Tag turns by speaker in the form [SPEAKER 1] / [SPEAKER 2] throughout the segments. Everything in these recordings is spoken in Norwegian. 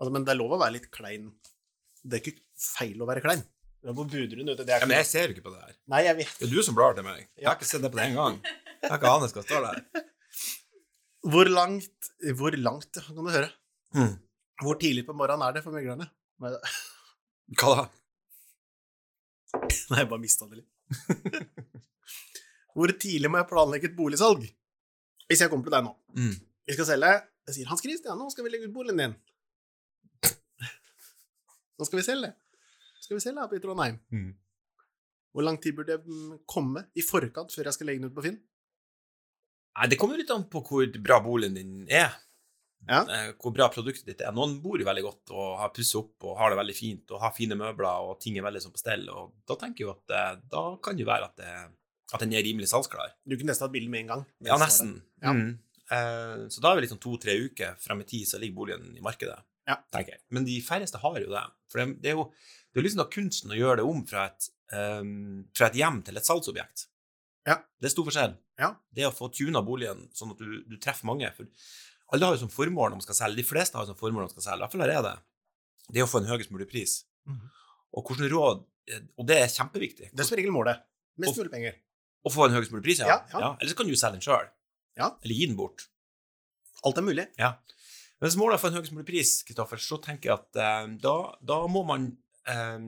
[SPEAKER 1] Altså, men det er lov å være litt klein. Det er ikke feil å være klein. Du er på Budrun, vet du. Det er
[SPEAKER 2] Ja,
[SPEAKER 1] ikke
[SPEAKER 2] men jeg ser jo ikke på det her.
[SPEAKER 1] Nei, jeg vet.
[SPEAKER 2] Det er du som blar til meg. Jeg
[SPEAKER 1] Ja.
[SPEAKER 2] har ikke sett det på det en gang. Jeg har ikke anet hva det står der.
[SPEAKER 1] Hvor langt Hvor langt kan du høre?
[SPEAKER 2] Hmm.
[SPEAKER 1] Hvor tidlig på morgenen er det for meglerne? Nei, det-
[SPEAKER 2] Hva da?
[SPEAKER 1] Nei, jeg bare mista det litt. Hvor tidlig må jeg planlegge et boligsalg? Hvis jeg kommer til deg nå
[SPEAKER 2] Mm.
[SPEAKER 1] Vi skal selge. Jeg sier Hans Christian, nå skal vi legge ut boligen din. Nå skal vi selge. Nå skal vi selge her på Trondheim.
[SPEAKER 2] Mm.
[SPEAKER 1] Hvor lang tid burde jeg mm, komme i forkant før jeg skal legge den ut på Finn?
[SPEAKER 2] Nei, det kommer litt an på hvor bra boligen din er.
[SPEAKER 1] Ja.
[SPEAKER 2] Eh, Hvor bra produktet ditt er. Noen bor jo veldig godt og har pusset opp og har det veldig fint og har fine møbler og ting er veldig sånn på stell, og da tenker jeg jo at eh, da kan det jo være at, det- at den er rimelig salgsklar.
[SPEAKER 1] Du kunne nesten hatt bilden med en gang.
[SPEAKER 2] Ja, nesten.
[SPEAKER 1] Ja.
[SPEAKER 2] Mm. Eh, Så da er vi liksom to-tre uker frem i tid, så ligger boligen i markedet.
[SPEAKER 1] Ja.
[SPEAKER 2] tenker jeg. Men de færreste har jo det. For det, det er jo det er jo liksom da kunsten å gjøre det om fra et, ehm, fra et hjem til et salgsobjekt.
[SPEAKER 1] Ja.
[SPEAKER 2] Det er stor forskjell.
[SPEAKER 1] Ja.
[SPEAKER 2] Det å få tuna boligen sånn at du, du treffer mange. For alle har jo som formål når man skal selge, de fleste har jo som formål når man skal selge, i hvert fall her er det, det er å få en høyest mulig pris.
[SPEAKER 1] Mhm.
[SPEAKER 2] Og hvordan råd eh, Og det er kjempeviktig.
[SPEAKER 1] Det er som regel målet. Mest
[SPEAKER 2] Og-
[SPEAKER 1] mulig penger.
[SPEAKER 2] Å få en høyest mulig pris, ja.
[SPEAKER 1] Ja, ja.
[SPEAKER 2] Eller så kan du jo selge den sjøl.
[SPEAKER 1] Ja.
[SPEAKER 2] Eller gi den bort.
[SPEAKER 1] Alt er mulig.
[SPEAKER 2] Men Hvis målet er å få en høyest mulig pris, Kristoffer, så tenker jeg at eh, da, da må man eh,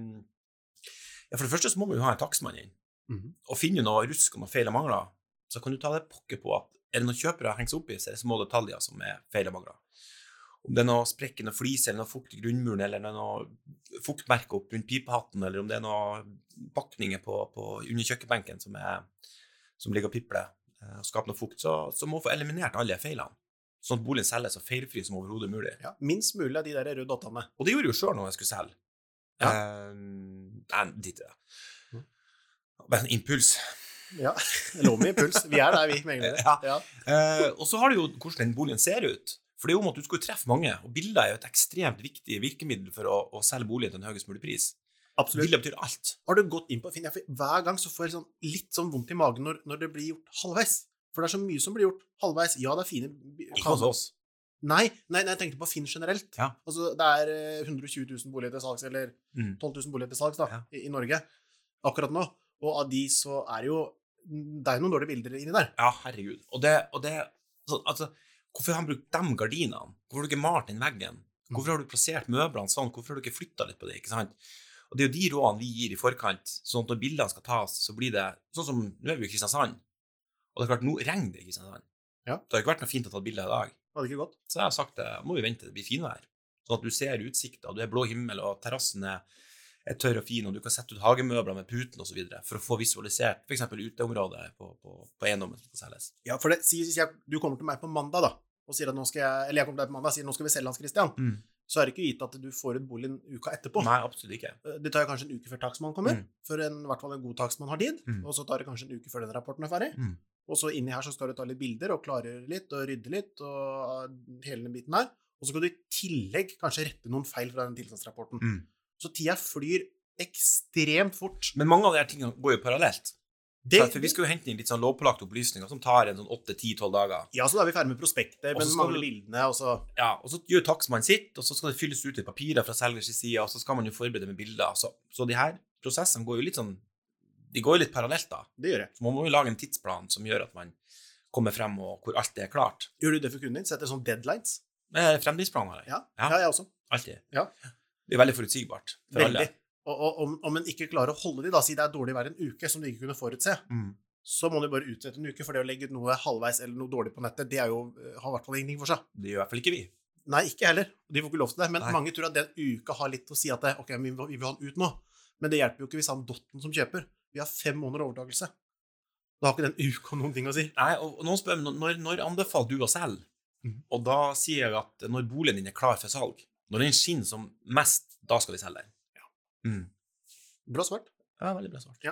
[SPEAKER 2] ja, For det første så må man jo ha en takstmann inn.
[SPEAKER 1] Mhm.
[SPEAKER 2] Og finner du noe rusk og noe feil og mangler, så kan du ta det pokker på at er det noen kjøpere henger seg opp i, så er det små detaljer som er feil og mangler. Om det er noe sprekk i noe flis, eller noe fukt i grunnmuren, eller det er noe fuktmerke opp rundt pipehatten, eller om det er noe pakninger på, på, under kjøkkenbenken som, er, som ligger og pipler eh, og skaper noe fukt, så, så må man få eliminert alle feilene. Sånn at boligen selges så feilfri som overhodet mulig.
[SPEAKER 1] Ja. Minst mulig av de der røde dottene.
[SPEAKER 2] Og det gjorde jeg jo sjøl når jeg skulle selge.
[SPEAKER 1] Ja.
[SPEAKER 2] Eh, nei, drit i det.
[SPEAKER 1] Mhm.
[SPEAKER 2] Bare en impuls.
[SPEAKER 1] Ja. Det lå med impuls. Vi er der, vi meglere.
[SPEAKER 2] Ja.
[SPEAKER 1] Ja.
[SPEAKER 2] Eh, og så har du jo hvordan den boligen ser ut. For det er jo om at du skal jo treffe mange, og bilder er jo et ekstremt viktig virkemiddel for å, å selge boligen til en høyest mulig pris.
[SPEAKER 1] Absolutt.
[SPEAKER 2] Bilder betyr alt.
[SPEAKER 1] Har du gått inn på Finn? Ja, for hver gang så får jeg sånn, litt sånn vondt i magen når, når det blir gjort halvveis. For det er så mye som blir gjort halvveis. Ja, det er fine bi-
[SPEAKER 2] Ikke hos oss.
[SPEAKER 1] Nei, nei, nei, jeg tenkte på Finn generelt.
[SPEAKER 2] Ja.
[SPEAKER 1] Altså, det er eh, 120 000 boliger til salgs, eller
[SPEAKER 2] Mm.
[SPEAKER 1] 12 000 boliger til salgs da,
[SPEAKER 2] Ja.
[SPEAKER 1] i, i Norge akkurat nå. Og av de så er jo Det er jo noen dårlige bilder inni der.
[SPEAKER 2] Ja, herregud. Og det, og det så, altså, Hvorfor har han brukt de gardinene? Hvorfor har du ikke malt den veggen? Hvorfor har du plassert møblene sånn? Hvorfor har du ikke flytta litt på det? ikke sant? Og Det er jo de rådene vi gir i forkant, sånn at når bildene skal tas, så blir det sånn som Nå er vi jo i Kristiansand, og det er klart, nå regner det i Kristiansand.
[SPEAKER 1] Ja.
[SPEAKER 2] Det har ikke vært noe fint å ta bilde av i dag.
[SPEAKER 1] Hadde ikke gått.
[SPEAKER 2] Så jeg har sagt det, må vi vente til det blir finvær. Sånn at du ser utsikta, du er blå himmel, og terrassen er, er tørr og fin, og du kan sette ut hagemøbler med puten osv. for å få visualisert f.eks. uteområdet på, på, på eiendommen som skal selges.
[SPEAKER 1] Ja, for det, si, hvis jeg, du kommer til meg på mandag, da, og sier at nå skal jeg, eller jeg kommer til deg på mandag og sier nå skal vi selge Hans Christian, så er det ikke gitt at du får ut boligen uka etterpå.
[SPEAKER 2] Mm.
[SPEAKER 1] Eh,
[SPEAKER 2] Nei, absolutt ikke.
[SPEAKER 1] Det tar jo kanskje en uke før takstmannen kommer,
[SPEAKER 2] Mm.
[SPEAKER 1] før en, i hvert fall en god takstmann har tid.
[SPEAKER 2] Mm.
[SPEAKER 1] Og så tar det kanskje en uke før den rapporten er ferdig.
[SPEAKER 2] Mm.
[SPEAKER 1] Og så inni her så skal du ta litt bilder og klargjøre litt og rydde litt og ah, hele den biten her. Og så skal du i tillegg kanskje rette noen feil fra den tilstandsrapporten.
[SPEAKER 2] Mm.
[SPEAKER 1] Så tida flyr ekstremt fort.
[SPEAKER 2] Men mange av de her tingene går jo parallelt.
[SPEAKER 1] Det,
[SPEAKER 2] for vi skal jo hente inn litt sånn lovpålagte opplysninger som tar en sånn 8-10-12 dager.
[SPEAKER 1] Ja, så da er vi ferdig med prospektet,
[SPEAKER 2] Og så
[SPEAKER 1] men
[SPEAKER 2] skal
[SPEAKER 1] mangler
[SPEAKER 2] du-
[SPEAKER 1] bildene, og så
[SPEAKER 2] Ja, og så gjør takstmannen sitt, og så skal det fylles ut i papirer fra selgers side, og så skal man jo forberede med bilder. Så, så de her prosessene går jo litt sånn De går jo litt parallelt, da.
[SPEAKER 1] Det gjør jeg.
[SPEAKER 2] Så man må jo lage en tidsplan som gjør at man kommer frem, og hvor alt er klart.
[SPEAKER 1] Gjør du det for kunden din? Setter sånn deadlines?
[SPEAKER 2] Eh, Fremdriftsplan har jeg.
[SPEAKER 1] Ja,
[SPEAKER 2] Ja.
[SPEAKER 1] ja jeg også.
[SPEAKER 2] Alltid.
[SPEAKER 1] Ja.
[SPEAKER 2] Det er veldig forutsigbart. For
[SPEAKER 1] Veldig.
[SPEAKER 2] alle.
[SPEAKER 1] Og, og om, om en ikke klarer å holde de, da, si det er dårlig vær en uke, som du ikke kunne forutse,
[SPEAKER 2] Mm.
[SPEAKER 1] så må du bare utsette en uke, for det å legge ut noe halvveis eller noe dårlig på nettet, det er jo, eh, har i hvert fall ingenting for seg.
[SPEAKER 2] Det gjør i hvert fall ikke vi.
[SPEAKER 1] Nei, ikke heller. De får ikke lov til det. Men
[SPEAKER 2] Nei.
[SPEAKER 1] mange tror at den uka har litt å si at det, ok, men vi, må- vi vil ha den ut nå. Men det hjelper jo ikke hvis han dotten som kjøper. Vi har fem måneder overtakelse. Da har ikke den uka noen ting å si.
[SPEAKER 2] Nei, og og noen spør meg, når, når anbefaler du å selge?
[SPEAKER 1] Mhm.
[SPEAKER 2] Og da sier jeg at når boligen din er klar for salg, når den skinner som mest, da skal vi selge den. Mm.
[SPEAKER 1] Bra svart.
[SPEAKER 2] Ja, veldig bra svart.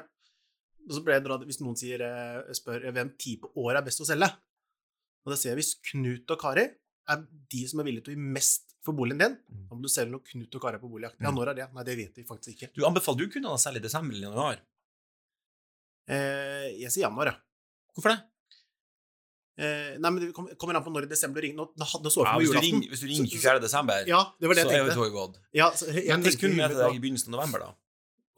[SPEAKER 1] Og så ble jeg dratt, hvis noen sier, eh, spør eh, hvem tid på året er best å selge, og da ser jeg hvis Knut og Kari er de som er villige til å gi mest for boligen din,
[SPEAKER 2] Mm.
[SPEAKER 1] da må du selge når Knut og Kari er på boligjakt. Ja,
[SPEAKER 2] Mm.
[SPEAKER 1] når er det? Nei, det vet de faktisk ikke.
[SPEAKER 2] Du anbefaler du kundene å selge i desember eller januar.
[SPEAKER 1] Eh, jeg sier januar, ja.
[SPEAKER 2] Hvorfor det?
[SPEAKER 1] Eh, nei, men det kom- kommer an på når i desember du ringer. Nå, nå hadde så
[SPEAKER 2] Ja,
[SPEAKER 1] for meg
[SPEAKER 2] hvis, du
[SPEAKER 1] julaften.
[SPEAKER 2] ringer, hvis du ringer 24. desember,
[SPEAKER 1] Ja, det var det
[SPEAKER 2] så
[SPEAKER 1] jeg
[SPEAKER 2] er jo
[SPEAKER 1] tenkte.
[SPEAKER 2] toget gått.
[SPEAKER 1] Ja, så jeg
[SPEAKER 2] Men hvis
[SPEAKER 1] tenkte
[SPEAKER 2] kunden er til
[SPEAKER 1] umiddelbart-
[SPEAKER 2] deg i begynnelsen av november, da,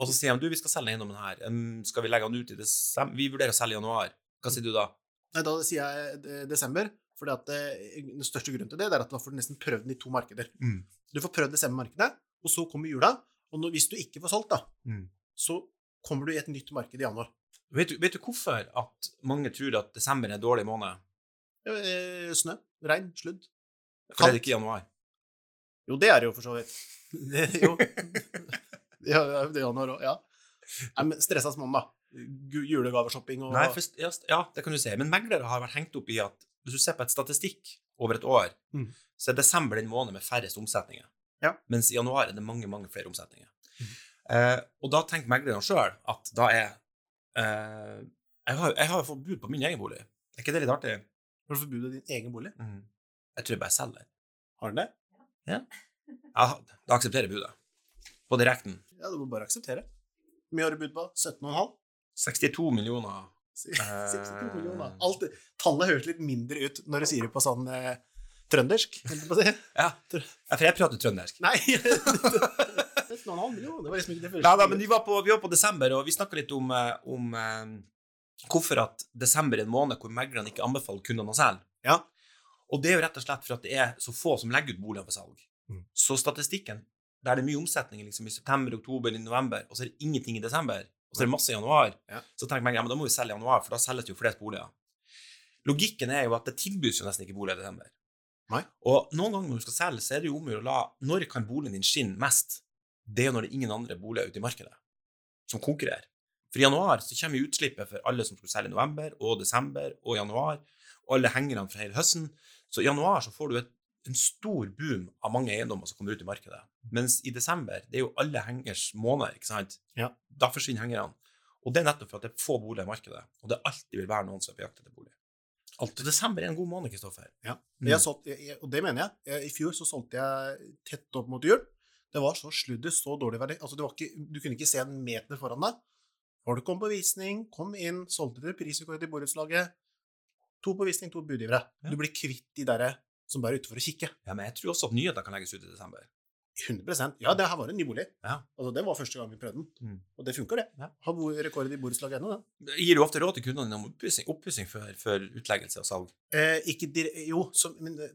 [SPEAKER 2] og så sier de du, vi skal selge den eiendommen her, Em, skal vi legge den ut i desember? Vi vurderer å selge i januar. Hva sier du da?
[SPEAKER 1] Nei, da sier jeg eh, desember. For den største grunnen til det det er at da får du nesten prøvd den i to markeder.
[SPEAKER 2] Mm.
[SPEAKER 1] Du får prøvd desembermarkedet, og så kommer jula. Og når, hvis du ikke får solgt, da,
[SPEAKER 2] Mm.
[SPEAKER 1] så kommer du i et nytt marked i januar.
[SPEAKER 2] Vet du, vet du hvorfor at mange tror at desember er en dårlig måned?
[SPEAKER 1] Eh, snø, regn, sludd.
[SPEAKER 2] For det er det ikke i januar.
[SPEAKER 1] Jo, det er det jo for så vidt. Det, jo. ja, ja, det er januar òg, ja. Nei, men stressa som mann, da. Gu- Julegaveshopping og
[SPEAKER 2] Nei, for, ja, st- ja, det kan du si. Men meglere har vært hengt opp i at hvis du ser på et statistikk over et år,
[SPEAKER 1] Mm.
[SPEAKER 2] så er desember den måneden med færrest omsetninger.
[SPEAKER 1] Ja.
[SPEAKER 2] Mens i januar er det mange, mange flere omsetninger.
[SPEAKER 1] Mhm.
[SPEAKER 2] Eh, og da tenker meglerne sjøl at da er eh, jeg, har, jeg har jo fått bud på min egen bolig. Er ikke det litt artig? Mm.
[SPEAKER 1] Har du forbudet din egen bolig?
[SPEAKER 2] Jeg tror jeg bare selger.
[SPEAKER 1] Har den det?
[SPEAKER 2] Ja, da aksepterer jeg budet. På direkten.
[SPEAKER 1] Ja, du må bare akseptere. Hvor mye har du budt på? 17,5?
[SPEAKER 2] 62 millioner.
[SPEAKER 1] Si-
[SPEAKER 2] Eh,
[SPEAKER 1] 62 millioner. Alt, tallet høres litt mindre ut når du sier det på sånn eh, trøndersk. holdt jeg på å si.
[SPEAKER 2] Ja, for jeg prater trøndersk.
[SPEAKER 1] Nei! 17,5 millioner, det var liksom ikke det første.
[SPEAKER 2] Nei da, men vi var på, vi var på desember, og vi snakka litt om, eh, om eh, hvorfor at desember er en måned hvor meglerne ikke anbefaler kundene å selge.
[SPEAKER 1] Ja.
[SPEAKER 2] Og det er jo rett og slett for at det er så få som legger ut boliger for salg.
[SPEAKER 1] Mm.
[SPEAKER 2] Så statistikken, der det er mye omsetning liksom, i september, oktober, i november, og så er det ingenting i desember, og så er det masse i januar,
[SPEAKER 1] Ja.
[SPEAKER 2] så tenker meglerne ja, men da må vi selge i januar, for da selges det jo flest boliger. Logikken er jo at det tilbys jo nesten ikke boliger i desember.
[SPEAKER 1] Nei.
[SPEAKER 2] Og noen ganger når du skal selge, så er det jo om å gjøre å la Når kan boligen din skinne mest? det er jo når det er ingen andre boliger ute i markedet som konkurrerer. For i januar så kommer jo utslippet for alle som skulle selge i november og desember og januar, og alle hengerne fra hele høsten. Så i januar så får du et, en stor boom av mange eiendommer som kommer ut i markedet. Mens i desember, det er jo alle hengers måneder, ikke sant?
[SPEAKER 1] Ja.
[SPEAKER 2] Da forsvinner hengerne. Og det er nettopp for at det er få boliger i markedet, og det alltid vil være noen som er på jakt etter bolig. Alltid. Desember er en god måned, Kristoffer.
[SPEAKER 1] Men Jeg solgte- jeg- jeg- og det mener jeg. jeg. I fjor så solgte jeg tett opp mot jul. Det var så sludder, så dårlig verdi. Altså, det var ikke, du kunne ikke se en meter foran deg. Folk kom på visning, kom inn, solgte til prisrekord i borettslaget. To på visning, to budgivere.
[SPEAKER 2] Ja.
[SPEAKER 1] Du blir kvitt de derre som bare er ute for å kikke.
[SPEAKER 2] Ja, men jeg tror også at nyheter kan legges ut i desember.
[SPEAKER 1] 100 Ja, det her var en ny bolig.
[SPEAKER 2] Ja.
[SPEAKER 1] Altså, det var første gang vi prøvde den.
[SPEAKER 2] Mm.
[SPEAKER 1] Og det funker, det.
[SPEAKER 2] Ja.
[SPEAKER 1] Har bo- rekord i borettslaget ennå, det.
[SPEAKER 2] Gir du ofte råd til kundene dine om oppussing, oppussing før, før utleggelse og salg?
[SPEAKER 1] Eh, ikke dire... Jo, som Men eh,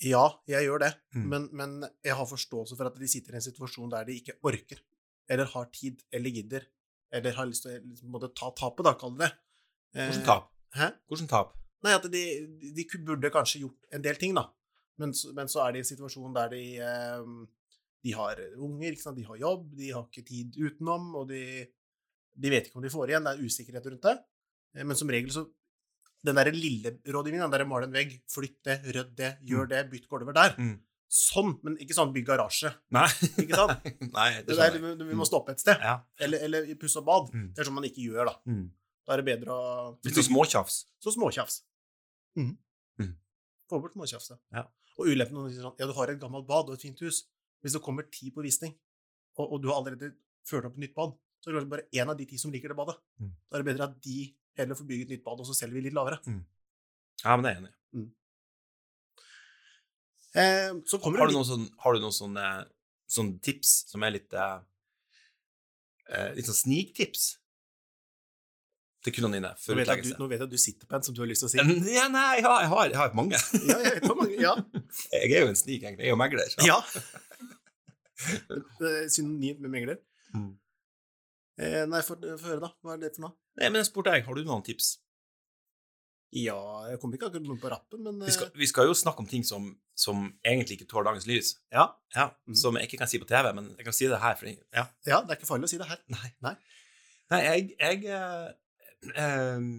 [SPEAKER 1] Ja, jeg gjør det.
[SPEAKER 2] Mm.
[SPEAKER 1] Men, men jeg har forståelse for at de sitter i en situasjon der de ikke orker, eller har tid, eller gidder, eller har lyst til å liksom, på en måte ta tapet, da, kall det det. Eh,
[SPEAKER 2] Hvordan tap?
[SPEAKER 1] Hæ?
[SPEAKER 2] Hvordan tap?
[SPEAKER 1] Nei, at de, de ku- burde kanskje gjort en del ting, da. Men, så- men så er de i en situasjon der de, eh, de har unger, ikke sant? de har jobb, de har ikke tid utenom, og de, de vet ikke om de får igjen. Det er usikkerhet rundt det. Eh, Men som regel så Den derre lille rådgivningen, den derre mal en vegg, flytt det, rødd det, gjør det, bytt gulvet der.
[SPEAKER 2] Mm.
[SPEAKER 1] Sånn, men ikke sånn bygg garasje.
[SPEAKER 2] Nei.
[SPEAKER 1] Ikke sant?
[SPEAKER 2] Nei,
[SPEAKER 1] Det
[SPEAKER 2] det
[SPEAKER 1] der,
[SPEAKER 2] skjønner jeg.
[SPEAKER 1] vi, vi må stoppe et sted.
[SPEAKER 2] Ja.
[SPEAKER 1] Eller, eller pusse opp bad.
[SPEAKER 2] Mm.
[SPEAKER 1] Det er sånn man ikke gjør, da.
[SPEAKER 2] Mm.
[SPEAKER 1] Da er det bedre å
[SPEAKER 2] Litt sånn småtjafs.
[SPEAKER 1] så småtjafs. Mm.
[SPEAKER 2] Mm.
[SPEAKER 1] Få bort småtjafset.
[SPEAKER 2] Ja.
[SPEAKER 1] Og ulempen når de sier sånn Ja, du har et gammelt bad og et fint hus. Hvis det kommer ti på visning, og, og du har allerede ført opp et nytt bad, så er det kanskje bare én av de ti som liker det badet.
[SPEAKER 2] Mm.
[SPEAKER 1] Da er det bedre at de heller får bygge et nytt bad, og så selger vi litt lavere.
[SPEAKER 2] Ja, men det er jeg enig i.
[SPEAKER 1] Eh, så kommer
[SPEAKER 2] Har du
[SPEAKER 1] det
[SPEAKER 2] noen, sånn, har du noen sånne, sånne tips som er litt eh, eh, Litt sånn sniktips til kundene dine
[SPEAKER 1] nå vet, jeg,
[SPEAKER 2] før
[SPEAKER 1] at
[SPEAKER 2] utleggelse?
[SPEAKER 1] du, nå vet jeg at du sitter på en som du har lyst til å si.
[SPEAKER 2] Ja, nei, ja, jeg har, jeg har mange.
[SPEAKER 1] Ja, jeg vet hvor mange. Ja.
[SPEAKER 2] Jeg er jo en snik, egentlig. Jeg er jo megler. så-
[SPEAKER 1] ja. Det er Synonymt Eh, med megler.
[SPEAKER 2] Mm.
[SPEAKER 1] Eh, nei, få få høre, da. Hva er det for noe?
[SPEAKER 2] Nei, men jeg spurte deg, har du noen tips?
[SPEAKER 1] Ja, jeg kommer ikke akkurat noe på rappen, men
[SPEAKER 2] Vi skal, vi skal jo snakke om ting som, som egentlig ikke tåler dagens lys.
[SPEAKER 1] Ja. Mhm.
[SPEAKER 2] Som jeg ikke kan si på TV, men jeg kan si det her. Fordi, ja.
[SPEAKER 1] eh, Ja, det er ikke farlig å si det her.
[SPEAKER 2] Nei.
[SPEAKER 1] Nei.
[SPEAKER 2] Nei, jeg, jeg eh, eh,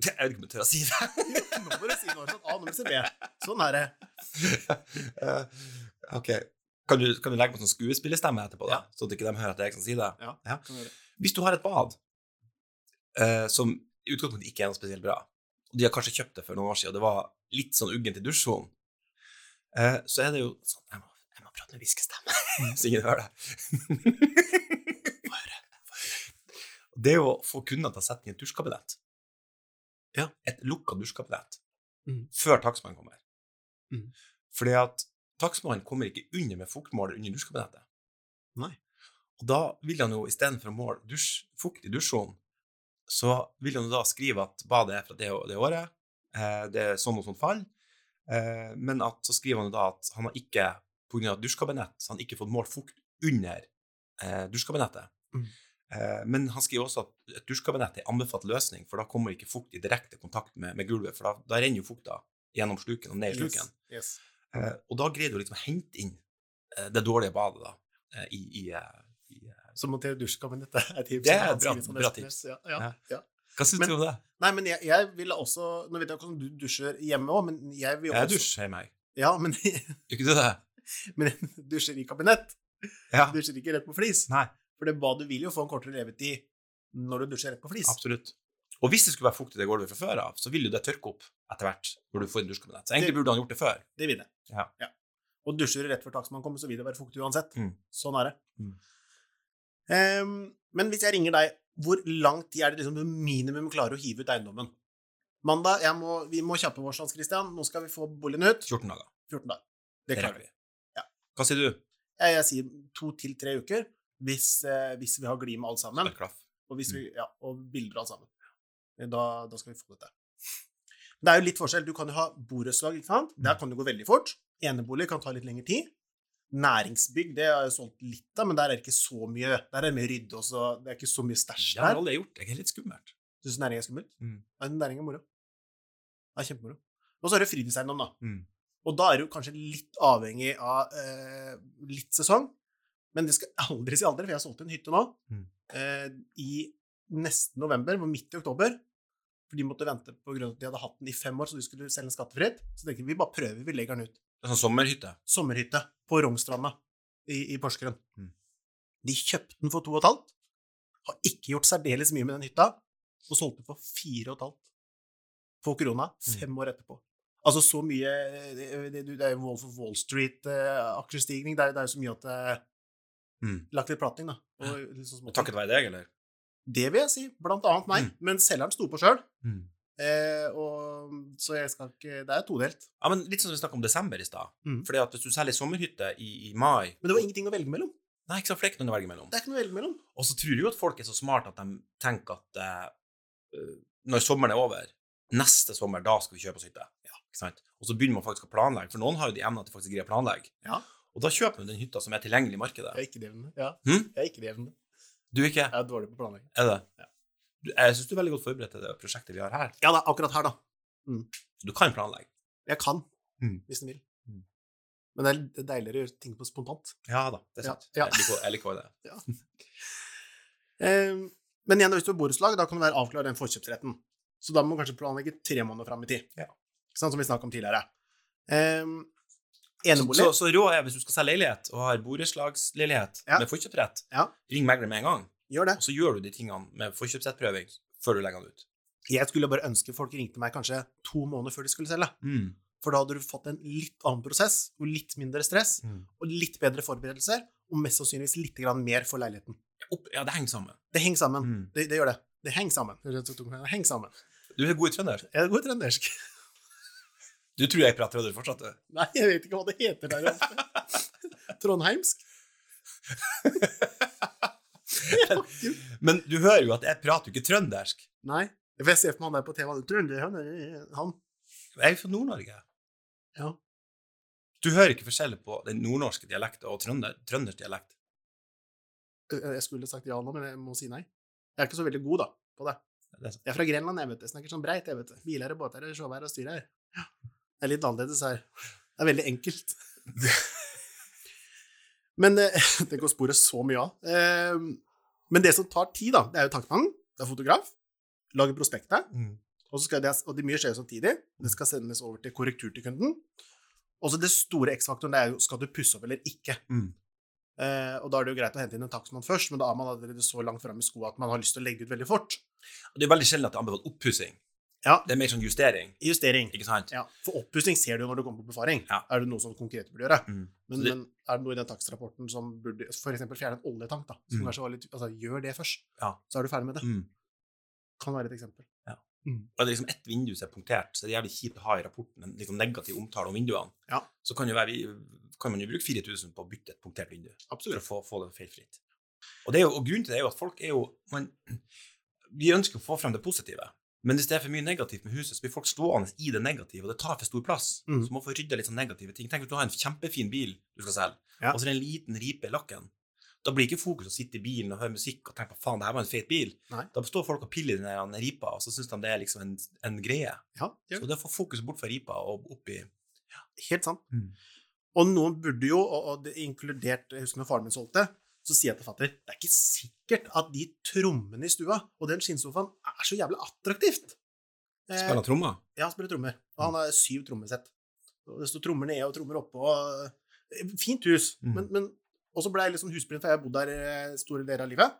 [SPEAKER 2] Jeg vet ikke om jeg tør å si det.
[SPEAKER 1] Nå må du si noe sånn A, nå må du si B. Sånn er det.
[SPEAKER 2] Eh, ok. Kan du, kan du legge på sånn skuespillerstemme etterpå, da? så at ikke de hører at det er jeg som sier det?
[SPEAKER 1] Ja,
[SPEAKER 2] Ja.
[SPEAKER 1] kan vi gjøre.
[SPEAKER 2] Hvis du har et bad eh, som i utgangspunktet ikke er noe spesielt bra, og de har kanskje kjøpt det for noen år siden, og det var litt sånn uggent i dusjsonen, eh, så er det jo sånn Jeg må, jeg må prate med
[SPEAKER 1] Mm.
[SPEAKER 2] hviskestemme, så ingen hører det. Få høre. Få høre. det er jo å få kunder til å sette den i et dusjkabinett. Ja. Et lukka dusjkabinett.
[SPEAKER 1] Mm.
[SPEAKER 2] Før takstmannen kommer.
[SPEAKER 1] Mm.
[SPEAKER 2] Fordi at takstmannen kommer ikke under med fuktmåler under dusjkabinettet.
[SPEAKER 1] Nei.
[SPEAKER 2] Og da vil han jo istedenfor å måle dusj, fukt i dusjrom, så vil han jo da skrive at badet er fra det, og det året, eh, det er sånn og sånn fall, eh, men at så skriver han jo da at han har ikke, pga. dusjkabinett, så han har ikke fått målt fukt under eh, dusjkabinettet.
[SPEAKER 1] Mm.
[SPEAKER 2] Eh, men han skriver også at et dusjkabinett er en anbefalt løsning, for da kommer ikke fukt i direkte kontakt med, med gulvet, for da, da renner jo fukta gjennom sluken og ned i sluken.
[SPEAKER 1] Yes.
[SPEAKER 2] Eh, og da greide du liksom å hente inn eh, det dårlige badet da, eh, i, i, eh, i eh.
[SPEAKER 1] Så montere dusjkabinett er et tips.
[SPEAKER 2] Det er
[SPEAKER 1] Han
[SPEAKER 2] bra-
[SPEAKER 1] skriver sånn
[SPEAKER 2] bra
[SPEAKER 1] SMS, Ja, ja.
[SPEAKER 2] Ja.
[SPEAKER 1] Ja.
[SPEAKER 2] Hva syns
[SPEAKER 1] Men-
[SPEAKER 2] du om det?
[SPEAKER 1] Nei, men jeg, jeg ville også Nå vet jeg ikke hvordan du dusjer hjemme òg, men jeg vil jo
[SPEAKER 2] Jeg
[SPEAKER 1] også
[SPEAKER 2] dusjer hjemme, jeg.
[SPEAKER 1] Ja, men,
[SPEAKER 2] Gjør ikke du det?
[SPEAKER 1] men dusjer i kabinett.
[SPEAKER 2] Ja,
[SPEAKER 1] Dusjer ikke rett på flis.
[SPEAKER 2] Nei.
[SPEAKER 1] For det badet vil jo få en kortere levetid når du dusjer rett på flis.
[SPEAKER 2] absolutt. Og hvis det skulle være fukt i det gulvet fra før av, så vil jo det tørke opp etter hvert når du får en dusjkabinett. Så egentlig burde han gjort det før.
[SPEAKER 1] Det vil det.
[SPEAKER 2] Ja.
[SPEAKER 1] Og dusjer du rett før takstmannen kommer, så vil det være fuktig uansett.
[SPEAKER 2] Mm.
[SPEAKER 1] Sånn er det.
[SPEAKER 2] Mm.
[SPEAKER 1] Ehm, men hvis jeg ringer deg, hvor lang tid er det liksom du minimum klarer å hive ut eiendommen? Mandag, jeg må, vi må kjappe oss, Hans Christian. Nå skal vi få boligen ut.
[SPEAKER 2] 14 dager.
[SPEAKER 1] 14 dager. Det
[SPEAKER 2] Det
[SPEAKER 1] klarer vi.
[SPEAKER 2] rekker vi.
[SPEAKER 1] Ja.
[SPEAKER 2] Hva sier du?
[SPEAKER 1] jeg, jeg sier to til tre uker hvis, eh, hvis vi har gli med alt sammen,
[SPEAKER 2] Sparklaff.
[SPEAKER 1] og, hvis vi, ja, og bilder alt sammen. Eh, Da, da skal vi få dette. Men Det er jo litt forskjell. Du kan jo ha borettslag. ikke sant? Der kan det gå veldig fort. Enebolig kan ta litt lengre tid. Næringsbygg det har jeg solgt litt av, men der er det ikke så mye Der er det mye rydde og så Det er ikke så mye stæsj
[SPEAKER 2] Det har
[SPEAKER 1] der.
[SPEAKER 2] aldri jeg gjort. Det er litt skummelt.
[SPEAKER 1] Syns du næring er skummelt?
[SPEAKER 2] Mm.
[SPEAKER 1] Nei, næring er moro. Det er kjempemoro. Og så er det fritidseiendom, da.
[SPEAKER 2] Mm.
[SPEAKER 1] Og da er du kanskje litt avhengig av eh, litt sesong. Men det skal jeg aldri si aldri, for jeg solgte en hytte nå
[SPEAKER 2] Mm.
[SPEAKER 1] eh, i nesten november, var midt i oktober. For de måtte vente på grunn av at de hadde hatt den i fem år, så de skulle selge den skattefritt. Så tenkte vi vi bare prøver, vi legger den ut.
[SPEAKER 2] Det er sånn sommerhytte.
[SPEAKER 1] Sommerhytte på Rongstranda i, i Porsgrunn.
[SPEAKER 2] Mm.
[SPEAKER 1] De kjøpte den for to og et halvt. Har ikke gjort særdeles mye med den hytta, og solgte den for fire og et halvt på korona
[SPEAKER 2] Mm.
[SPEAKER 1] fem år etterpå. Altså så mye Det, det, det er jo Wolf of Wall Street-aksjestigning. det, er- det er jo så mye at det er
[SPEAKER 2] Mm.
[SPEAKER 1] lagt litt platning, da. Og litt sånn småting.
[SPEAKER 2] Takket være deg, eller?
[SPEAKER 1] Det vil jeg si. Blant annet meg.
[SPEAKER 2] Mm.
[SPEAKER 1] Men selgeren sto på sjøl. Eh, og, så jeg skal ikke Det er todelt.
[SPEAKER 2] Ja, men litt sånn som vi snakket om desember i stad.
[SPEAKER 1] Mm.
[SPEAKER 2] Fordi at hvis du selger sommerhytte i, i mai
[SPEAKER 1] Men det var ingenting å velge mellom.
[SPEAKER 2] Nei, ikke sant, for det er ikke noe å velge mellom.
[SPEAKER 1] Det er ikke noe å velge mellom.
[SPEAKER 2] Og så tror jeg jo at folk er så smart at de tenker at eh, øh, når sommeren er over, neste sommer, da skal vi kjøpe oss hytte. Ikke sant? Og så begynner man faktisk å planlegge, for noen har jo de evnene at de faktisk greier å planlegge.
[SPEAKER 1] Ja.
[SPEAKER 2] Og da kjøper du den hytta som er tilgjengelig i markedet.
[SPEAKER 1] Jeg er ikke det evne. Ja.
[SPEAKER 2] Hm?
[SPEAKER 1] Jeg er ikke det evne.
[SPEAKER 2] Du ikke?
[SPEAKER 1] Jeg er dårlig på planlegging.
[SPEAKER 2] Er det?
[SPEAKER 1] Ja.
[SPEAKER 2] Du, jeg syns du er veldig godt forberedt til det prosjektet vi har her.
[SPEAKER 1] Ja, det er akkurat her, da.
[SPEAKER 2] Så du kan planlegge.
[SPEAKER 1] Jeg kan,
[SPEAKER 2] Mm.
[SPEAKER 1] hvis den vil.
[SPEAKER 2] Mm.
[SPEAKER 1] Men det er det er deiligere å gjøre ting på spontant.
[SPEAKER 2] Ja da, det er
[SPEAKER 1] Ja,
[SPEAKER 2] sant.
[SPEAKER 1] ja.
[SPEAKER 2] Jeg liker- Jeg liker det.
[SPEAKER 1] Eh, men igjen, hvis du har borettslag, da kan du være avklart den forkjøpsretten. Så da må du kanskje planlegge tre måneder fram i tid.
[SPEAKER 2] Ja.
[SPEAKER 1] Sånn som vi snakket om tidligere. Eh,
[SPEAKER 2] Så,
[SPEAKER 1] enebolig.
[SPEAKER 2] så rådet er hvis du skal selge leilighet, og har borettslagsleilighet
[SPEAKER 1] Ja.
[SPEAKER 2] med forkjøpsrett,
[SPEAKER 1] Ja.
[SPEAKER 2] ring megler med en gang.
[SPEAKER 1] Gjør det.
[SPEAKER 2] Og så gjør du de tingene med forkjøpsrettprøving før du legger den ut.
[SPEAKER 1] Jeg skulle bare ønske folk ringte meg kanskje to måneder før de skulle selge.
[SPEAKER 2] Mm.
[SPEAKER 1] For da hadde du fått en litt annen prosess, og litt mindre stress, og litt bedre forberedelser, og mest sannsynligvis litt grann mer for leiligheten.
[SPEAKER 2] Opp, ja, det henger sammen.
[SPEAKER 1] Det henger sammen. Det, det gjør det. Det henger sammen. Det henger sammen.
[SPEAKER 2] Du er god i trønder.
[SPEAKER 1] Jeg er god i trøndersk.
[SPEAKER 2] Du tror jeg prater trønder fortsatt? du.
[SPEAKER 1] Nei, jeg vet ikke hva det heter der oppe. Trondheimsk? Jeg har ikke-
[SPEAKER 2] Men du hører jo at jeg prater jo ikke trøndersk.
[SPEAKER 1] Nei. For jeg ser for meg han der på TV. han- Trønder, han er- Han.
[SPEAKER 2] Jeg er jo fra Nord-Norge.
[SPEAKER 1] Ja.
[SPEAKER 2] Du hører ikke forskjell på den nordnorske dialekten og trønder, trønders dialekt.
[SPEAKER 1] Øh, Jeg skulle sagt ja nå, men jeg må si nei. Jeg er ikke så veldig god, da, på det.
[SPEAKER 2] Det er sant.
[SPEAKER 1] Jeg er fra Grenland, jeg, vet det. Snakker sånn breit, jeg, vet det. Biler og båter og sjåvær og styrer. Ja. Det er litt annerledes her. Det er veldig enkelt. Men eh, det går sporet så mye av. Eh, Men det som tar tid, da, det er jo tankmannen, det er fotograf, lager prospektet, Og, så skal det, og det mye skjer jo samtidig. Det skal sendes over til korrektur til kunden. Og så det store X-faktoren det er jo skal du pusse opp eller ikke.
[SPEAKER 2] Mm.
[SPEAKER 1] Eh, og da er det jo greit å hente inn en takstmann først, men da er man allerede så langt framme i skoa at man har lyst til å legge ut veldig fort.
[SPEAKER 2] Og Det er veldig sjelden at det er anbefalt oppussing.
[SPEAKER 1] Ja.
[SPEAKER 2] Det er mer sånn justering,
[SPEAKER 1] Justering.
[SPEAKER 2] ikke sant?
[SPEAKER 1] Ja, For oppussing ser du jo når du kommer på befaring.
[SPEAKER 2] Ja.
[SPEAKER 1] Er det noe som konkret burde gjøre?
[SPEAKER 2] Mm.
[SPEAKER 1] Men,
[SPEAKER 2] Så det-
[SPEAKER 1] men er det noe i den takstrapporten som burde F.eks. fjerne en oljetank, da. Som
[SPEAKER 2] Mm.
[SPEAKER 1] kanskje var litt, altså, gjør det først,
[SPEAKER 2] Ja.
[SPEAKER 1] så er du ferdig med det.
[SPEAKER 2] Mm.
[SPEAKER 1] Kan være et eksempel.
[SPEAKER 2] Og det er liksom ett vindu som er punktert, så det er jævlig kjipt å ha i rapporten en liksom negativ omtale om vinduene.
[SPEAKER 1] Ja.
[SPEAKER 2] Så kan, jo være, vi- kan man jo bruke 4000 på å bytte et punktert vindu. for å
[SPEAKER 1] Absolutt.
[SPEAKER 2] få, få det feilfritt. Og, det er jo, og grunnen til det er jo at folk er jo man, Vi ønsker å få frem det positive, men hvis det er for mye negativt med huset, så blir folk stående i det negative, og det tar for stor plass.
[SPEAKER 1] Mm.
[SPEAKER 2] Så man får rydda litt sånn negative ting. Tenk hvis du har en kjempefin bil du skal selge,
[SPEAKER 1] Ja.
[SPEAKER 2] og så er det en liten ripe i lakken. Da blir ikke fokus å sitte i bilen og høre musikk og tenke på faen, det her var en feit bil.
[SPEAKER 1] Nei.
[SPEAKER 2] Da står folk og piller i den der ripa, og så syns de det er liksom en, en greie.
[SPEAKER 1] Ja, gjør
[SPEAKER 2] Så det å få fokuset bort fra ripa og opp i
[SPEAKER 1] det. Helt sant.
[SPEAKER 2] Mm.
[SPEAKER 1] Og noen burde jo, og, og det inkludert Jeg husker når faren min solgte, så sier jeg til fatter det er ikke sikkert at de trommene i stua og den skinnsofaen er så jævlig attraktivt. Eh,
[SPEAKER 2] Spille trommer.
[SPEAKER 1] Ja, han spiller trommer. Og han har syv trommesett. Og Det står trommer nede og trommer oppe. Og eh, fint hus.
[SPEAKER 2] Mm.
[SPEAKER 1] Men, men, og så ble jeg liksom husblind, for jeg har bodd der eh, store deler av livet.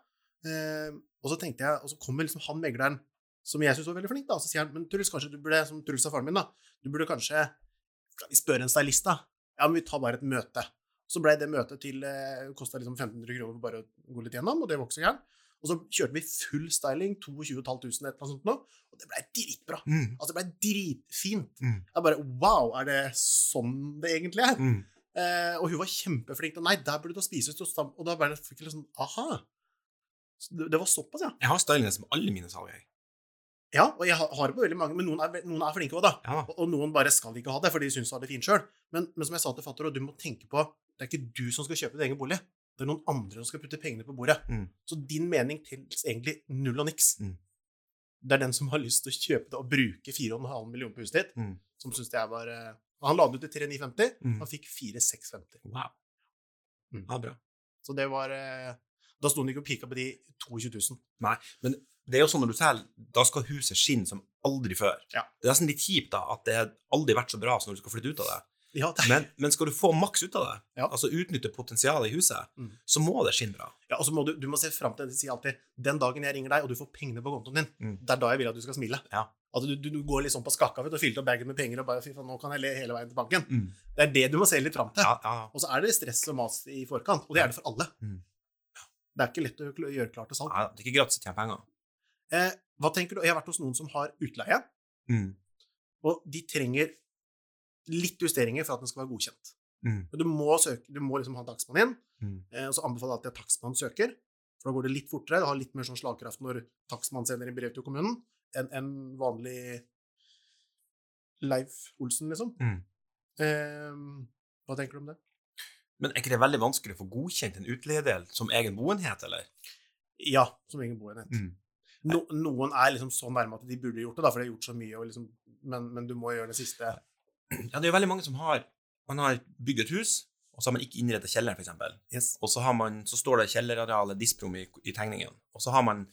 [SPEAKER 1] Eh, og så tenkte jeg, og så kommer liksom han megleren, som jeg syns var veldig flink, da. Og så sier han, men Truls, kanskje du burde, som Truls er faren min, da, du burde kanskje skal vi spørre en stylist, da? Ja, men vi tar bare et møte. Så blei det møtet til eh, kosta liksom 1500 kroner for bare å gå litt gjennom, og det var ikke så gærent. Og så kjørte vi full styling, 22 500 et eller annet sånt nå, og det blei dritbra.
[SPEAKER 2] Mm.
[SPEAKER 1] Altså, det ble dritfint.
[SPEAKER 2] Mm.
[SPEAKER 1] Jeg bare Wow, er det sånn det egentlig er?
[SPEAKER 2] Mm.
[SPEAKER 1] Eh, og hun var kjempeflink. Og nei, der burde du ha spisehus. Og stam- og da ble jeg fikk jeg litt sånn Aha! Så det, det var såpass, ja.
[SPEAKER 2] Jeg har stylinger som alle mine salg, jeg.
[SPEAKER 1] Ja, og jeg har har det på veldig mange, men noen er, ve- noen er flinke òg, da.
[SPEAKER 2] Ja da.
[SPEAKER 1] Og, og noen bare skal ikke ha det, for de syns de har det fint sjøl. Men, men som jeg sa til fatter, og du må tenke på det er ikke du som skal kjøpe din egen bolig. Det er noen andre som skal putte pengene på bordet.
[SPEAKER 2] Mm.
[SPEAKER 1] Så din mening teller egentlig null og niks.
[SPEAKER 2] Mm.
[SPEAKER 1] Det er den som har lyst til å kjøpe det og bruke 4,5 millioner på huset ditt,
[SPEAKER 2] Mm.
[SPEAKER 1] som syns jeg var eh, Han la det ut til 3950,
[SPEAKER 2] Mm.
[SPEAKER 1] han fikk 4650.
[SPEAKER 2] Wow.
[SPEAKER 1] Mm.
[SPEAKER 2] Ja, bra.
[SPEAKER 1] Så det var eh, Da sto han ikke og pika på de 22 000.
[SPEAKER 2] Det er jo sånn når du selger, da skal huset skinne som aldri før.
[SPEAKER 1] Ja.
[SPEAKER 2] Det er nesten litt kjipt da, at det har aldri vært så bra som når du skal flytte ut av det.
[SPEAKER 1] Ja, det,
[SPEAKER 2] Men, men skal du få maks ut av det,
[SPEAKER 1] Ja.
[SPEAKER 2] altså utnytte potensialet i huset,
[SPEAKER 1] Mm.
[SPEAKER 2] så må det skinne bra.
[SPEAKER 1] ja, og så må du, du må se fram til De sier alltid 'Den dagen jeg ringer deg, og du får pengene på kontoen din',
[SPEAKER 2] Mm.
[SPEAKER 1] det er da jeg vil at du skal smile.
[SPEAKER 2] Ja.
[SPEAKER 1] At du, du, du går litt sånn på skakka vet, du, og fyller opp bagen med penger og bare 'fy faen, nå kan jeg le hele veien til banken'. Det er det du må se litt fram til.
[SPEAKER 2] Mm. Ja, ja, ja.
[SPEAKER 1] Og så er det stress og mas i forkant, og det er det for alle.
[SPEAKER 2] Mm.
[SPEAKER 1] Det er ikke lett å kl- gjøre klart til salg.
[SPEAKER 2] Nei, det er ikke gratis å tjene penger.
[SPEAKER 1] Eh, hva tenker du? Jeg har vært hos noen som har utleie,
[SPEAKER 2] Mm.
[SPEAKER 1] og de trenger litt justeringer for at den skal være godkjent.
[SPEAKER 2] Mm.
[SPEAKER 1] Men Du må, søke, du må liksom ha en takstmann inn,
[SPEAKER 2] Mm.
[SPEAKER 1] eh, og så anbefaler jeg alltid at takstmannen søker, for da går det litt fortere, det har litt mer sånn slagkraft når takstmannen sender inn brev til kommunen, enn en vanlig Leif Olsen, liksom.
[SPEAKER 2] Mm.
[SPEAKER 1] Eh, hva tenker du om det?
[SPEAKER 2] Men er ikke det veldig vanskelig å få godkjent en utleiedel som egen boenhet, eller?
[SPEAKER 1] Ja, som egen boenhet.
[SPEAKER 2] Mm.
[SPEAKER 1] No, noen er liksom så nærme at de burde gjort det, da, for de har gjort så mye, og liksom, men, men du må gjøre det siste.
[SPEAKER 2] Ja, det er jo veldig mange som har, man har bygd et hus, og så har man ikke innrettet kjelleren, for eksempel. Og så, har man, så står det kjellerarealet disprom i, i tegningen. Og så har man,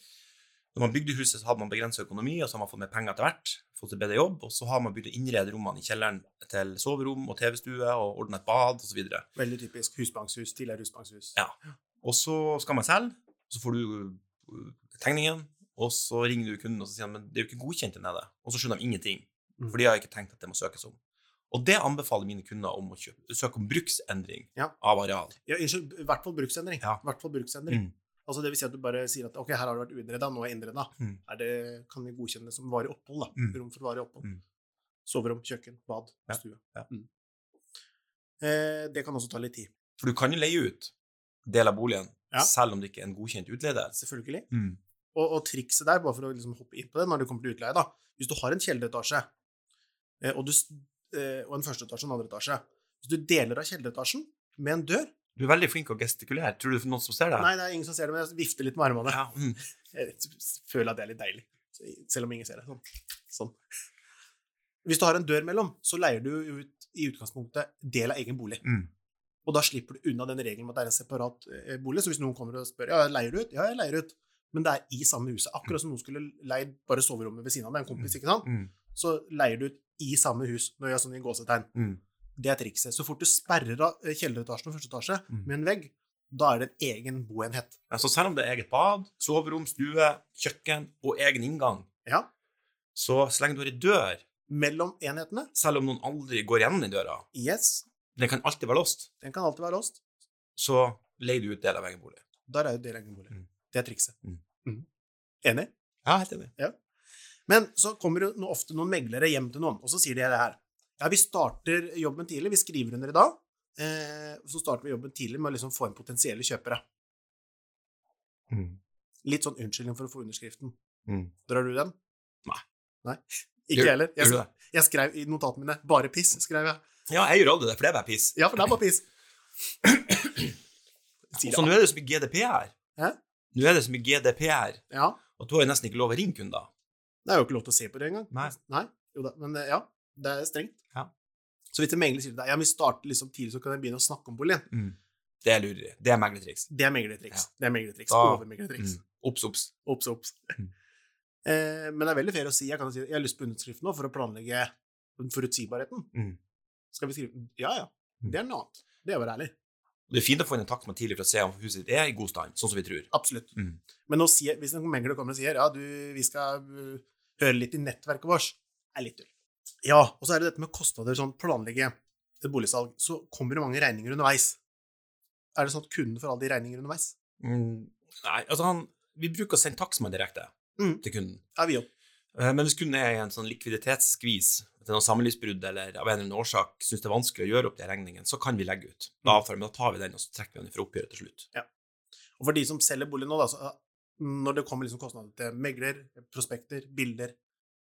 [SPEAKER 2] når man bygde huset, så hadde man begrenset økonomi, og så har man fått mer penger etter hvert, fått et bedre jobb, og så har man begynt å innrede rommene i kjelleren til soverom og TV-stue, og ordne et bad, osv. Og, så
[SPEAKER 1] Veldig typisk husbankshus, tidligere husbankshus.
[SPEAKER 2] Ja. og så skal man selge, så får du øh, tegningen, og så ringer du kunden og så sier han, men det er jo ikke godkjent der nede. Og så skjønner de ingenting,
[SPEAKER 1] Mm.
[SPEAKER 2] for de har ikke tenkt at det må søkes om. Og det anbefaler mine kunder om å kjøpe, søke om bruksendring
[SPEAKER 1] Ja.
[SPEAKER 2] av areal.
[SPEAKER 1] Ja, unnskyld, i hvert fall bruksendring.
[SPEAKER 2] Ja.
[SPEAKER 1] I hvert fall bruksendring.
[SPEAKER 2] Mm.
[SPEAKER 1] Altså, det vil si at du bare sier at ok, her har det vært uinnreda, nå er innreda.
[SPEAKER 2] Mm.
[SPEAKER 1] Er det, kan vi godkjenne det som varig opphold, da?
[SPEAKER 2] Mm.
[SPEAKER 1] Rom for varig opphold.
[SPEAKER 2] Mm.
[SPEAKER 1] Soverom, kjøkken, bad,
[SPEAKER 2] Ja,
[SPEAKER 1] stue.
[SPEAKER 2] ja.
[SPEAKER 1] Mm. Eh, det kan også ta litt tid.
[SPEAKER 2] For du kan jo leie ut del av boligen,
[SPEAKER 1] Ja. Mm.
[SPEAKER 2] selv om det ikke er en godkjent utleder.
[SPEAKER 1] Selvfølgelig. Og, og trikset der, bare for å liksom hoppe inn på det når det kommer til utleie, da. hvis du har en kjelleretasje eh, og, du, s- eh, og en førsteetasje og en andre etasje Hvis du deler av kjelleretasjen med en dør
[SPEAKER 2] Du er veldig flink å gestikulere. Tror du det er noen som ser deg?
[SPEAKER 1] Nei, det er ingen som ser det, men jeg vifter litt med armene.
[SPEAKER 2] Ja, mm.
[SPEAKER 1] Jeg s- føler at det er litt deilig, selv om ingen ser det. Sånn. sånn. Hvis du har en dør mellom, så leier du jo ut i utgangspunktet del av egen bolig.
[SPEAKER 2] Mm.
[SPEAKER 1] Og da slipper du unna den regelen med at det er en separat eh, bolig. Så hvis noen kommer og spør ja, leier du ut, ja, jeg leier ut. Men det er i samme huset. Akkurat som noen skulle leid bare soverommet ved siden av med en kompis, ikke sant?
[SPEAKER 2] Mm.
[SPEAKER 1] så leier du ut i samme hus. Når jeg gjør sånn i gåsetegn.
[SPEAKER 2] Mm.
[SPEAKER 1] Det er trikset. Så fort du sperrer av eh, kjelleretasjen og første etasje
[SPEAKER 2] Mm.
[SPEAKER 1] med en vegg, da er det en egen boenhet.
[SPEAKER 2] Ja, Så selv om det er eget bad, soverom, stue, kjøkken og egen inngang,
[SPEAKER 1] Ja.
[SPEAKER 2] Så så lenge du har ei dør,
[SPEAKER 1] Mellom enhetene,
[SPEAKER 2] selv om noen aldri går gjennom den døra,
[SPEAKER 1] yes,
[SPEAKER 2] den kan alltid være låst,
[SPEAKER 1] den kan alltid være låst.
[SPEAKER 2] så leier du ut del av egen bolig.
[SPEAKER 1] Der er jo det legemiddelet.
[SPEAKER 2] Mm.
[SPEAKER 1] Det er trikset.
[SPEAKER 2] Mm.
[SPEAKER 1] Mhm. Enig?
[SPEAKER 2] Ja, helt enig.
[SPEAKER 1] Men så kommer det no- ofte noen meglere hjem til noen, og så sier de det her. Ja, vi starter jobben tidlig, vi skriver under i dag, eh, så starter vi jobben tidlig med å liksom få inn potensielle kjøpere. Litt sånn unnskyldning for å få underskriften.
[SPEAKER 2] Mm.
[SPEAKER 1] Drar du den?
[SPEAKER 2] Nei.
[SPEAKER 1] Nei?
[SPEAKER 2] Gjør-
[SPEAKER 1] Ikke jeg heller.
[SPEAKER 2] Gjør du
[SPEAKER 1] Jeg,
[SPEAKER 2] det?
[SPEAKER 1] jeg skrev i notatene mine 'bare piss', skrev jeg.
[SPEAKER 2] Ja, jeg gjør aldri det, for det er bare piss.
[SPEAKER 1] Ja, for det er bare piss. Sier
[SPEAKER 2] Og så
[SPEAKER 1] det.
[SPEAKER 2] nå er det så mye GDPR.
[SPEAKER 1] Hæ?
[SPEAKER 2] Nå er det så mye GDPR
[SPEAKER 1] Ja.
[SPEAKER 2] at du har jo nesten ikke lov å ringe kunder.
[SPEAKER 1] Det er jo ikke lov til å se på det engang.
[SPEAKER 2] Nei.
[SPEAKER 1] Jo da, men eh, ja, det er strengt.
[SPEAKER 2] Ja.
[SPEAKER 1] Så hvis en megler sier til deg ja, men vi starter liksom tidlig, så kan jeg begynne å snakke om boligen.
[SPEAKER 2] Det er lureri. Det er meglertriks.
[SPEAKER 1] Det er meglertriks. Det er meglertriks.
[SPEAKER 2] Da-
[SPEAKER 1] Overmeglertriks.
[SPEAKER 2] Mm. Ops, ops.
[SPEAKER 1] Ops, ops.
[SPEAKER 2] Mm.
[SPEAKER 1] Eh, men det er veldig fair å si. Jeg kan jo si jeg har lyst på underskrift nå for å planlegge den forutsigbarheten.
[SPEAKER 2] Mm.
[SPEAKER 1] Skal vi skrive Ja, ja.
[SPEAKER 2] Mm.
[SPEAKER 1] Det er noe annet. Det er å være ærlig.
[SPEAKER 2] Og Det er fint å få inn en takt med tidlig for å se om huset ditt er i god stand, sånn som vi tror.
[SPEAKER 1] Absolutt.
[SPEAKER 2] Mm.
[SPEAKER 1] Men nå sier, hvis en megler kommer og sier ja, du, vi skal uh, høre litt i nettverket vårt, er litt tull. Ja, og så er det dette med kostnader, sånn planlegge et boligsalg, så kommer det mange regninger underveis. Er det sånn at kunden får alle de regninger underveis?
[SPEAKER 2] Nei, altså han, vi bruker å sende takstmann direkte
[SPEAKER 1] Mm.
[SPEAKER 2] til kunden.
[SPEAKER 1] Er vi opp?
[SPEAKER 2] Eh, Men hvis kunden er i en sånn likviditetsskvis, til noe samlivsbrudd eller av en eller annen årsak syns det er vanskelig å gjøre opp de regningene, så kan vi legge ut.
[SPEAKER 1] Mm.
[SPEAKER 2] Da, avtaler, vi, men da tar vi den, og så trekker vi den fra oppgjøret til slutt.
[SPEAKER 1] Og for de som selger bolig nå, da, så, uh, når det kommer liksom kostnader til megler, prospekter, bilder,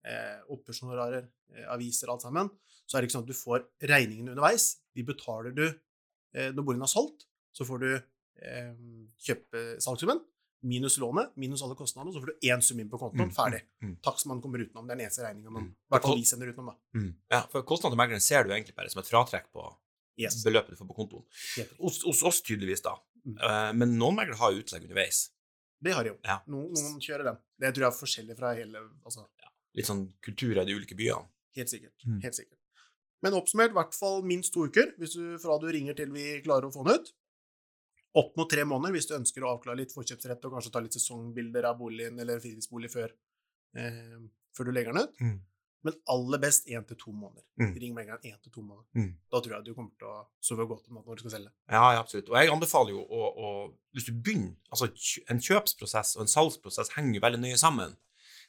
[SPEAKER 1] eh, oppgjørshonorarer, eh, aviser, alt sammen, så er det ikke sånn at du får regningene underveis. De betaler du eh, når boligen er solgt, så får du eh, kjøpe salgssummen, minus lånet, minus alle kostnadene, så får du én sum inn på kontoen,
[SPEAKER 2] Mm,
[SPEAKER 1] ferdig.
[SPEAKER 2] mm, mm.
[SPEAKER 1] Takstmannen kommer utenom, det er den eneste regninga man
[SPEAKER 2] Mm.
[SPEAKER 1] i hvert fall vi sender utenom, da.
[SPEAKER 2] Ja, for kostnaden til megleren ser du egentlig bare som et fratrekk på
[SPEAKER 1] Yes.
[SPEAKER 2] beløpet du får på kontoen.
[SPEAKER 1] helt riktig.
[SPEAKER 2] Hos, hos oss tydeligvis, da.
[SPEAKER 1] Mm.
[SPEAKER 2] Eh, Men noen meglere har jo utlegg underveis.
[SPEAKER 1] Det har de jo.
[SPEAKER 2] Ja.
[SPEAKER 1] Noen, noen kjører den. Det tror jeg er forskjellig fra hele altså,
[SPEAKER 2] Litt sånn kultur i de ulike byene.
[SPEAKER 1] Helt sikkert.
[SPEAKER 2] Mm.
[SPEAKER 1] Helt sikkert. Men oppsummert, i hvert fall minst to uker hvis du, fra du ringer til vi klarer å få den ut. Opp mot tre måneder hvis du ønsker å avklare litt forkjøpsrett og kanskje ta litt sesongbilder av boligen eller fritidsbolig før, eh, før du legger den ut.
[SPEAKER 2] Mm.
[SPEAKER 1] Men aller best én til to måneder.
[SPEAKER 2] Mm.
[SPEAKER 1] Ring megleren én til to måneder.
[SPEAKER 2] Mm.
[SPEAKER 1] Da tror jeg du kommer til å sove godt om natten når du skal selge.
[SPEAKER 2] Ja, ja, absolutt. Og jeg anbefaler jo å, å Hvis du begynner Altså, kj- en kjøpsprosess og en salgsprosess henger jo veldig nøye sammen.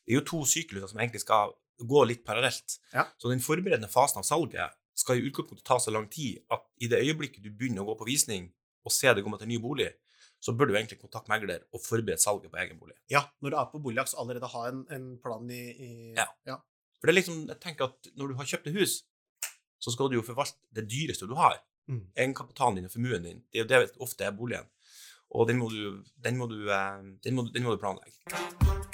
[SPEAKER 2] Det er jo to sykluser som egentlig skal gå litt parallelt.
[SPEAKER 1] Ja.
[SPEAKER 2] Så den forberedende fasen av salget skal i utgangspunktet ta så lang tid at i det øyeblikket du begynner å gå på visning og ser det kommer til en ny bolig, så bør du egentlig kontakte megler og forberede salget på egen bolig.
[SPEAKER 1] Ja, når du er på boligjakt, så allerede ha en, en plan i, i
[SPEAKER 2] Ja. For det er liksom, jeg tenker at når du har kjøpt et hus, så skal du jo forvalte det dyreste du har.
[SPEAKER 1] Mm.
[SPEAKER 2] Egenkapitalen din og formuen din. Det er jo det ofte er boligen. Og den må du, den må du, eh, den må, du- den må du planlegge.